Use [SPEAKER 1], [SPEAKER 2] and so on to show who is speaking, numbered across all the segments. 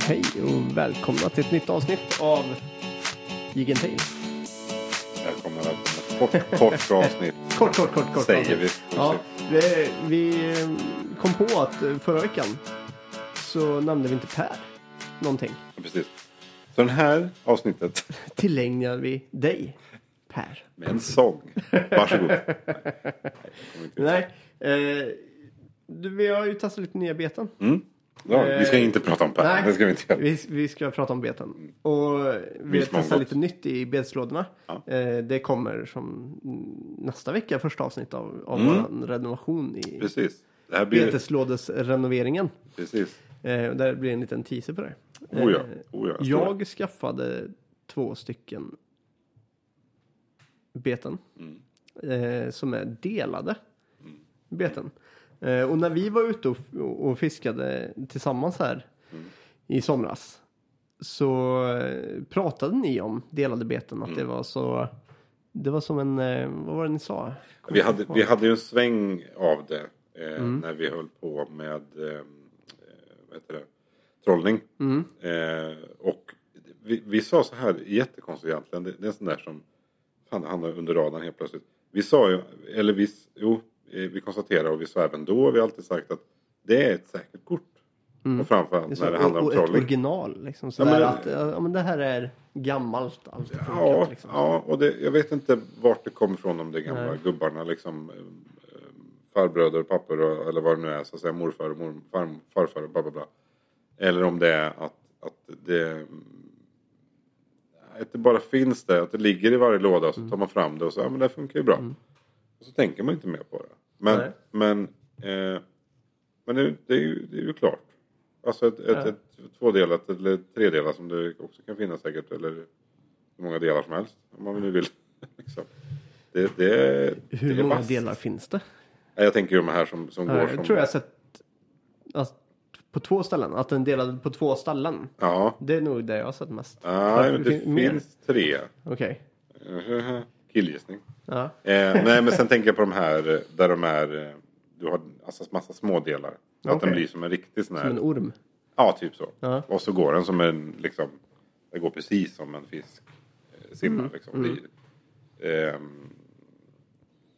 [SPEAKER 1] Hej och välkomna till ett nytt avsnitt av Jigentin.
[SPEAKER 2] Välkomna, välkomna. Kort, kort avsnitt.
[SPEAKER 1] Kort, kort, kort, kort.
[SPEAKER 2] Säger vi.
[SPEAKER 1] Ja, vi, vi eh, kom på att eh, förra veckan så nämnde vi inte Per någonting.
[SPEAKER 2] Precis. Så den här avsnittet
[SPEAKER 1] Tillägnar vi dig Per?
[SPEAKER 2] med en sång. Varsågod.
[SPEAKER 1] Nej, eh, du, vi har ju testat lite nya betan.
[SPEAKER 2] Mm. Ja, vi ska inte prata om Per. Det ska vi inte göra.
[SPEAKER 1] Vi, vi ska prata om betan. Och vi har
[SPEAKER 2] Visst, många
[SPEAKER 1] testat
[SPEAKER 2] gott.
[SPEAKER 1] lite nytt i betslådorna.
[SPEAKER 2] Ja.
[SPEAKER 1] Eh, det kommer som nästa vecka första avsnitt av, av vår renovation i
[SPEAKER 2] Mm. Precis. Det här blir...
[SPEAKER 1] beteslådesrenoveringen.
[SPEAKER 2] Precis.
[SPEAKER 1] Eh, och där blir en liten teaser på det. Eh,
[SPEAKER 2] Oh ja. Oh ja.
[SPEAKER 1] jag skaffade två stycken beten.
[SPEAKER 2] Mm.
[SPEAKER 1] Eh, som är delade beten. Eh, och när vi var ute och, och fiskade tillsammans här
[SPEAKER 2] Mm.
[SPEAKER 1] i somras. Så eh, pratade ni om delade beten. Att
[SPEAKER 2] Mm.
[SPEAKER 1] det var så... Det var som en... eh, Vad var det ni sa?
[SPEAKER 2] Vi hade, vi hade ju en sväng av det eh,
[SPEAKER 1] Mm.
[SPEAKER 2] när vi höll på med eh, vad heter det? trollning.
[SPEAKER 1] Mm.
[SPEAKER 2] Eh, och vi, vi sa så här, jättekonstigt egentligen. Det, det är en sån där som fan, det hamnar under radarn helt plötsligt. Vi sa ju, eller vi, jo, eh, vi konstaterade och vi sa även då, vi har alltid sagt att det är ett säkert kort. Och framförallt
[SPEAKER 1] Mm. Det är så,
[SPEAKER 2] när det handlar om
[SPEAKER 1] och, och ett
[SPEAKER 2] trollning.
[SPEAKER 1] original liksom.
[SPEAKER 2] Ja,
[SPEAKER 1] Sådär,
[SPEAKER 2] men-
[SPEAKER 1] att, ja, men det här är gammalt. Allt
[SPEAKER 2] Ja,
[SPEAKER 1] funkat, liksom.
[SPEAKER 2] ja och det, jag vet inte vart det kommer ifrån om det är gamla gubbarna liksom. eh, Farbröder, papper och, eller vad det nu är. Så att säga, morfar och mor, farm, farfar och bla bla bla. Eller om det är att, att det... Att det bara finns där, att det ligger i varje låda och så
[SPEAKER 1] Mm.
[SPEAKER 2] tar man fram det och så, ja men det här funkar ju bra. Och så tänker man inte mer på det. Men,
[SPEAKER 1] Nej.
[SPEAKER 2] men, eh, men det, det, är ju, det är ju klart. Alltså ett, ett,
[SPEAKER 1] Ja.
[SPEAKER 2] ett tvådelat eller tredelat som det också kan finnas säkert. Eller hur många delar som helst. Om man nu vill. liksom. det, det,
[SPEAKER 1] Hur
[SPEAKER 2] det är
[SPEAKER 1] många
[SPEAKER 2] vasst.
[SPEAKER 1] delar finns det?
[SPEAKER 2] Nej, Jag tänker ju de här som, som går
[SPEAKER 1] Jag
[SPEAKER 2] som...
[SPEAKER 1] tror jag har sett alltså, på två ställen. Att den delade på två ställen.
[SPEAKER 2] Ja.
[SPEAKER 1] Det är nog det jag har sett mest.
[SPEAKER 2] Nej, Ah, men det
[SPEAKER 1] fin- mer?
[SPEAKER 2] finns tre.
[SPEAKER 1] Okej.
[SPEAKER 2] Killgissning.
[SPEAKER 1] Ja.
[SPEAKER 2] Eh, nej men sen tänker jag på de här eh, där de är... eh, Du har alltså massa små delar. Att
[SPEAKER 1] Okej.
[SPEAKER 2] den blir som en riktig sån här...
[SPEAKER 1] Som en orm.
[SPEAKER 2] Ja, typ så.
[SPEAKER 1] Ja.
[SPEAKER 2] Och så går den som en, liksom, det går precis som en fisk eh, simmar.
[SPEAKER 1] Mm.
[SPEAKER 2] Liksom. Det, ehm,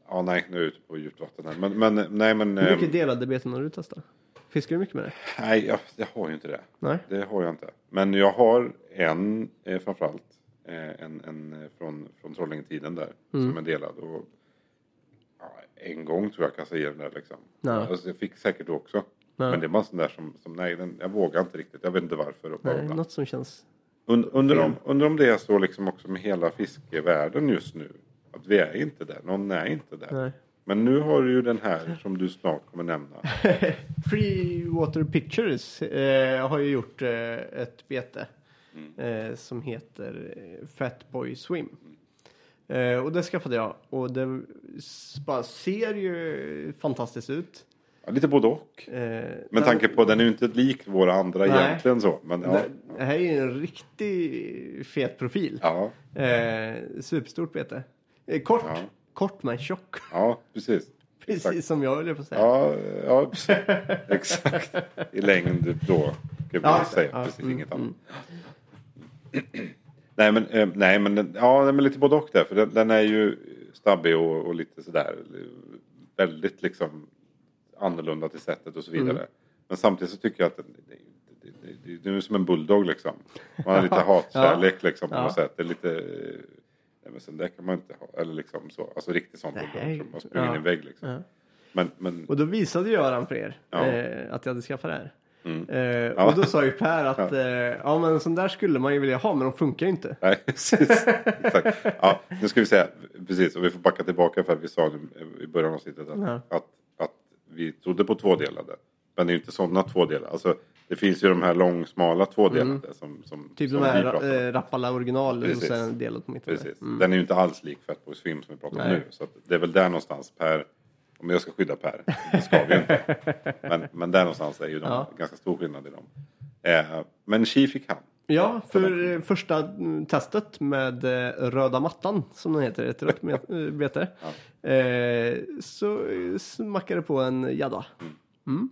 [SPEAKER 2] ja, nej, nu är jag ute på djupt vatten här. Men, men nej, men...
[SPEAKER 1] Hur
[SPEAKER 2] ehm,
[SPEAKER 1] mycket delade beten har du testat? Fiskar du mycket med det?
[SPEAKER 2] nej, jag, jag har ju inte det.
[SPEAKER 1] Nej.
[SPEAKER 2] Det har jag inte. Men jag har en eh, framförallt. Eh, en en eh, från, från Trollhättetiden där.
[SPEAKER 1] Mm.
[SPEAKER 2] Som är delad. Och, ja, en gång tror jag kastade i den där liksom.
[SPEAKER 1] Ja.
[SPEAKER 2] Alltså, jag fick säkert då också.
[SPEAKER 1] Ja.
[SPEAKER 2] Men det var en sån där som, som nej, den, jag vågar inte riktigt. Jag vet inte varför. Och bla, bla,
[SPEAKER 1] Nej,
[SPEAKER 2] bla.
[SPEAKER 1] något som känns...
[SPEAKER 2] Und, undrar, om, undrar om det är så liksom också med hela fiskevärlden just nu. Att vi är inte där. Någon är inte där.
[SPEAKER 1] Nej.
[SPEAKER 2] Men nu har du ju den här som du snart kommer nämna.
[SPEAKER 1] Free Water Pictures eh, har ju gjort eh, ett bete
[SPEAKER 2] Mm.
[SPEAKER 1] eh, som heter eh, Fatboy Swim. Eh, och det skaffade jag och det s- bara ser ju fantastiskt ut.
[SPEAKER 2] Ja, lite både och.
[SPEAKER 1] Eh, den-
[SPEAKER 2] Med tanke på den är ju inte lik våra andra
[SPEAKER 1] Nej.
[SPEAKER 2] egentligen så. Men ja.
[SPEAKER 1] den- Det här är ju en riktig fet profil.
[SPEAKER 2] Ja,
[SPEAKER 1] Eh, superstort bete. Eh, kort,
[SPEAKER 2] Ja.
[SPEAKER 1] kort men tjock.
[SPEAKER 2] ja precis.
[SPEAKER 1] Precis som jag höll på att säga.
[SPEAKER 2] Ja, ja precis. exakt. I längd då. Ska vi
[SPEAKER 1] Ja,
[SPEAKER 2] säga.
[SPEAKER 1] ja,
[SPEAKER 2] precis,
[SPEAKER 1] mm,
[SPEAKER 2] inget annat. nej, men, eh, nej, men, den- ja, nej, men lite både och där. För den, den är ju stabbig och, och lite sådär. Väldigt liksom annorlunda till sättet och så
[SPEAKER 1] Mm.
[SPEAKER 2] vidare. Men samtidigt så tycker jag att den, det, det, det, det, det är ju som en bulldog liksom. Man har lite hatkärlek liksom på
[SPEAKER 1] Ja.
[SPEAKER 2] något sätt. Det är lite... eh, Nej, men sen där kan man inte ha. Eller liksom så. Alltså riktigt sån
[SPEAKER 1] Nej.
[SPEAKER 2] bulldog som har sprungit in i
[SPEAKER 1] Ja.
[SPEAKER 2] en vägg liksom.
[SPEAKER 1] Ja.
[SPEAKER 2] Men, men
[SPEAKER 1] Och då visade Göran för er
[SPEAKER 2] Ja.
[SPEAKER 1] eh, att jag hade skaffat det här.
[SPEAKER 2] Mm.
[SPEAKER 1] Eh,
[SPEAKER 2] Ja.
[SPEAKER 1] Och då sa ju Per att eh, ja men en sån där skulle man ju vilja ha men de funkar ju inte.
[SPEAKER 2] Nej, precis. Exakt. Ja, nu ska vi säga, precis, och vi får backa tillbaka för att vi sa nu i början av avsnittet att,
[SPEAKER 1] Ja.
[SPEAKER 2] att, att vi trodde på tvådelade. Men det är ju inte sådana tvådelade. Alltså, det finns ju de här långsmala tvådelade som, som,
[SPEAKER 1] Typ
[SPEAKER 2] som
[SPEAKER 1] de
[SPEAKER 2] vi
[SPEAKER 1] här
[SPEAKER 2] pratar om.
[SPEAKER 1] äh, Rappala original och
[SPEAKER 2] Precis.
[SPEAKER 1] sen delat på mitt.
[SPEAKER 2] Precis. Den är ju inte alls lik Fatboy Swim som vi pratar om
[SPEAKER 1] Nej.
[SPEAKER 2] nu. Så att det är väl där någonstans Per, om jag ska skydda Per, det ska vi ju inte. Men, men där någonstans är ju de
[SPEAKER 1] Ja.
[SPEAKER 2] ganska stor skillnad i dem. Eh, men Chi fick han.
[SPEAKER 1] Ja, för eh, första mm, testet med eh, röda mattan som den heter, ett rött met- eh, bete. Eh, så eh, smackade det på en gädda. Mm.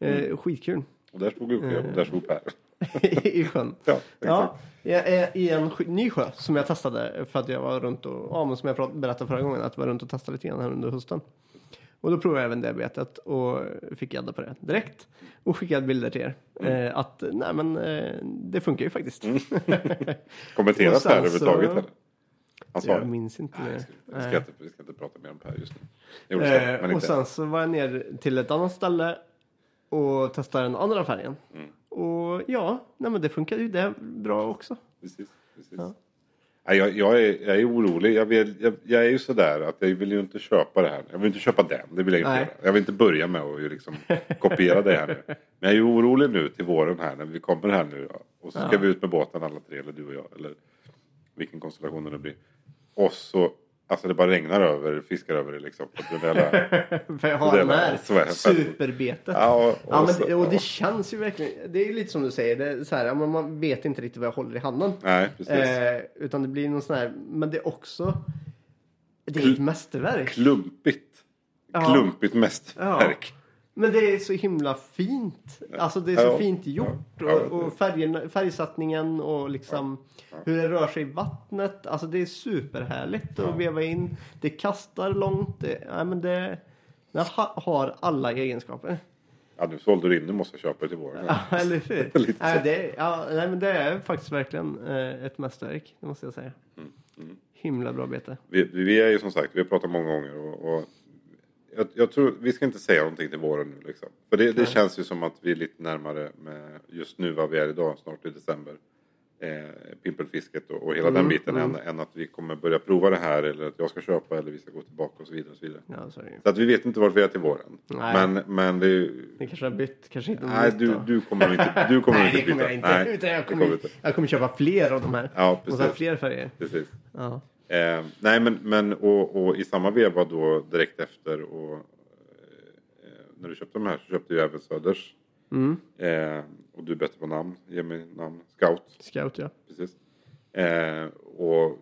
[SPEAKER 1] Eh, skitkul. Eh.
[SPEAKER 2] Och där stod Gucci och där stod Per.
[SPEAKER 1] i sjön.
[SPEAKER 2] Ja,
[SPEAKER 1] Ja,
[SPEAKER 2] exakt.
[SPEAKER 1] i- i- i en sk- ny sjö som jag testade för att jag var runt och, ja men som jag prat- berättade förra gången, att jag var runt och testade lite grann här under hösten. Och då provade jag även det betet och fick gädda på det direkt. Och skickade bilder till er.
[SPEAKER 2] Mm.
[SPEAKER 1] Eh, att nej men eh, det funkar ju faktiskt. Och
[SPEAKER 2] Kommenteras det
[SPEAKER 1] sen
[SPEAKER 2] här överhuvudtaget?
[SPEAKER 1] så-
[SPEAKER 2] eller? Han
[SPEAKER 1] jag
[SPEAKER 2] svarade.
[SPEAKER 1] minns inte
[SPEAKER 2] Nej, vi
[SPEAKER 1] mer.
[SPEAKER 2] ska, vi, ska
[SPEAKER 1] Nej.
[SPEAKER 2] inte, vi ska inte prata mer om Per just nu. Jo, det ska vi, men
[SPEAKER 1] Eh, och
[SPEAKER 2] inte.
[SPEAKER 1] sen så var jag ner till ett annat ställe och testade den andra färgen.
[SPEAKER 2] Mm.
[SPEAKER 1] Och ja, nej men det funkade ju det bra också.
[SPEAKER 2] Precis, precis.
[SPEAKER 1] Ja.
[SPEAKER 2] Nej, Jag, jag, är, jag är orolig. Jag, vill, jag, jag är ju sådär att jag vill ju inte köpa det här. Jag vill inte köpa den. Det vill jag inte
[SPEAKER 1] Nej.
[SPEAKER 2] göra. Jag vill inte börja med att ju liksom kopiera det här nu. Men jag är ju orolig nu till våren här när vi kommer här nu. Och så ska
[SPEAKER 1] Ja.
[SPEAKER 2] vi ut med båten alla tre. Eller du och jag. Eller vilken konstellation det nu blir. Och så. Alltså det bara regnar över. Fiskar över det liksom. För att den där-
[SPEAKER 1] För jag har
[SPEAKER 2] Det
[SPEAKER 1] den
[SPEAKER 2] var-
[SPEAKER 1] här
[SPEAKER 2] så är det.
[SPEAKER 1] superbetet.
[SPEAKER 2] Ja, alltså, och-
[SPEAKER 1] Ja,
[SPEAKER 2] och
[SPEAKER 1] men,
[SPEAKER 2] så-
[SPEAKER 1] det- och det
[SPEAKER 2] ja.
[SPEAKER 1] känns ju verkligen. Det är ju lite som du säger. Det är så här, ja, men man vet inte riktigt vad jag håller i handen.
[SPEAKER 2] Nej precis.
[SPEAKER 1] Eh, utan det blir någon sån här. Men det är också. Det är ett mästerverk.
[SPEAKER 2] Klumpigt.
[SPEAKER 1] Ja.
[SPEAKER 2] Klumpigt mest.
[SPEAKER 1] Ja.
[SPEAKER 2] verk.
[SPEAKER 1] Men det är så himla fint. Alltså det är så
[SPEAKER 2] Ja.
[SPEAKER 1] fint gjort.
[SPEAKER 2] Ja. Ja,
[SPEAKER 1] Och, och färgerna, färgsättningen och liksom hur det rör sig i vattnet. Alltså det är superhärligt att veva in. Det kastar långt. Det, nej, men det, det ha, har alla egenskaper.
[SPEAKER 2] Ja, nu sålde du in. Nu måste jag köpa det till våren.
[SPEAKER 1] Ja, eller hur?
[SPEAKER 2] Lite
[SPEAKER 1] nej,
[SPEAKER 2] så.
[SPEAKER 1] det, ja, nej, men det är faktiskt verkligen eh, ett mästerverk. Det måste jag säga.
[SPEAKER 2] Mm,
[SPEAKER 1] Himla bra bete.
[SPEAKER 2] Vi, vi är ju som sagt, vi har pratat många gånger och, och jag, jag tror, vi ska inte säga någonting till våren nu liksom. För det, det känns ju som att vi är lite närmare med just nu vad vi är idag, snart i december. Eh, pimpelfisket och, och hela
[SPEAKER 1] Mm,
[SPEAKER 2] den biten än, än att vi kommer börja prova det här eller att jag ska köpa eller vi ska gå tillbaka och så vidare. Och så, vidare.
[SPEAKER 1] Ja, sorry.
[SPEAKER 2] så att vi vet inte vart vi är till våren.
[SPEAKER 1] Nej.
[SPEAKER 2] Men, men det är ju...
[SPEAKER 1] Ni kanske har bytt, kanske inte
[SPEAKER 2] Nej,
[SPEAKER 1] något
[SPEAKER 2] du,
[SPEAKER 1] då.
[SPEAKER 2] du kommer nog inte du kommer nog
[SPEAKER 1] Nej,
[SPEAKER 2] inte
[SPEAKER 1] det kommer jag inte.
[SPEAKER 2] Nej,
[SPEAKER 1] Utan jag
[SPEAKER 2] det
[SPEAKER 1] kommer, jag kommer köpa fler av de här.
[SPEAKER 2] Ja,
[SPEAKER 1] Och så här
[SPEAKER 2] precis.
[SPEAKER 1] fler färger.
[SPEAKER 2] Precis.
[SPEAKER 1] Ja.
[SPEAKER 2] Eh, nej men, men och, och i samma veva då direkt efter och eh, när du köpte de här så köpte ju även Söders.
[SPEAKER 1] Mm.
[SPEAKER 2] Eh, och du är bättre på namn, ge mig namn, Scout.
[SPEAKER 1] Scout, ja.
[SPEAKER 2] Precis. Eh, och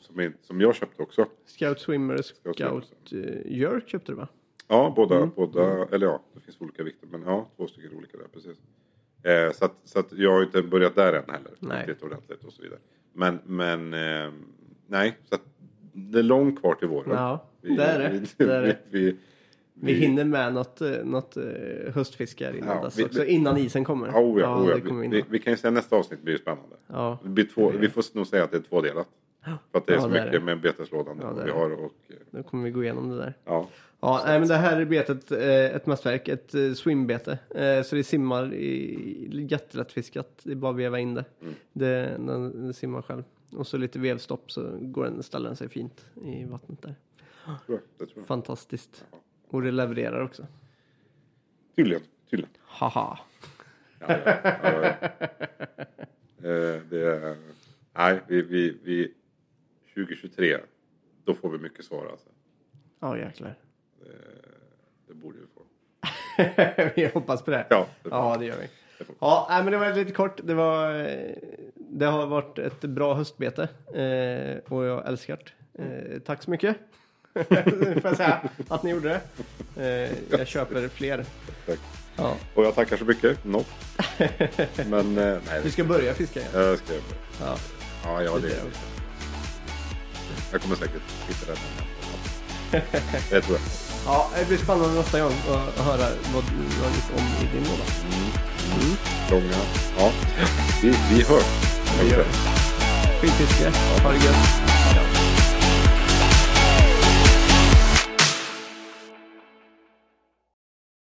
[SPEAKER 2] som, är- som jag köpte också.
[SPEAKER 1] Scout Swimmer och
[SPEAKER 2] Scout
[SPEAKER 1] Scout eh, Jerk köpte du va?
[SPEAKER 2] Ja, båda,
[SPEAKER 1] Mm.
[SPEAKER 2] båda eller ja, det finns olika vikter men ja, två stycken olika där precis. Eh, så att, så att jag har ju inte börjat där än heller.
[SPEAKER 1] Nej.
[SPEAKER 2] Riktigt ordentligt och så vidare. Men, men eh, nej, så att det är långt kvar till våren.
[SPEAKER 1] Ja, det är det.
[SPEAKER 2] Vi,
[SPEAKER 1] Det är det.
[SPEAKER 2] vi, vi,
[SPEAKER 1] Vi hinner med något, eh, något eh, höstfiske här innan
[SPEAKER 2] Ja,
[SPEAKER 1] dess
[SPEAKER 2] vi-
[SPEAKER 1] också.
[SPEAKER 2] vi-
[SPEAKER 1] Innan isen kommer.
[SPEAKER 2] Ja, oh ja, oh ja.
[SPEAKER 1] det kommer vi
[SPEAKER 2] Vi,
[SPEAKER 1] hinna.
[SPEAKER 2] vi, vi kan ju säga nästa avsnitt blir ju spännande.
[SPEAKER 1] Ja.
[SPEAKER 2] Det blir två, vi får nog säga att det är tvådelat. För att det är
[SPEAKER 1] Ja,
[SPEAKER 2] så
[SPEAKER 1] det är
[SPEAKER 2] mycket
[SPEAKER 1] det.
[SPEAKER 2] med beteslådan
[SPEAKER 1] Ja, det är
[SPEAKER 2] vi
[SPEAKER 1] det.
[SPEAKER 2] har. Och, eh,
[SPEAKER 1] Då kommer vi gå igenom det där.
[SPEAKER 2] ja.
[SPEAKER 1] Ja, nej, men det här är betet eh, ett mästerverk, ett eh, swimbete. Eh, så det simmar i, jättelätt fiskat. Det är bara att veva in det. det den, den simmar själv. Och så lite vevstopp så går den, ställer den sig fint i vattnet där.
[SPEAKER 2] det tror jag,
[SPEAKER 1] Mm.
[SPEAKER 2] det tror jag.
[SPEAKER 1] Fantastiskt. Och det levererar också.
[SPEAKER 2] Tydligen. tydligen.
[SPEAKER 1] Haha.
[SPEAKER 2] Ja, ja, ja, ja. Eh, det är... Nej, vi, vi, vi... 2023, då får vi mycket svar alltså. Eh,
[SPEAKER 1] Ja, jäklar.
[SPEAKER 2] Det borde vi få.
[SPEAKER 1] vi hoppas på det.
[SPEAKER 2] Ja, det får
[SPEAKER 1] ja det gör vi.
[SPEAKER 2] Det får vi.
[SPEAKER 1] Ja, nej, men det var lite kort. Det, var, eh, det har varit ett bra höstbete eh, och jag älskar det. Eh, tack så mycket. Får jag säga att ni gjorde det. Eh, jag köper fler.
[SPEAKER 2] Tack.
[SPEAKER 1] Ja.
[SPEAKER 2] Och jag tackar så mycket. No. Men eh, nej,
[SPEAKER 1] Vi ska börja fiska igen.
[SPEAKER 2] jag ska göra det.
[SPEAKER 1] Ja.
[SPEAKER 2] Ja, ja, det
[SPEAKER 1] Det är det.
[SPEAKER 2] Jag kommer säkert hitta den. Det tror jag.
[SPEAKER 1] Ja, det blir spännande nästa gång att höra vad du har gjort om i din låda.
[SPEAKER 2] Långa. Ja, vi, vi hörs.
[SPEAKER 1] Vi gör det. Skitfiske. Ha det gött.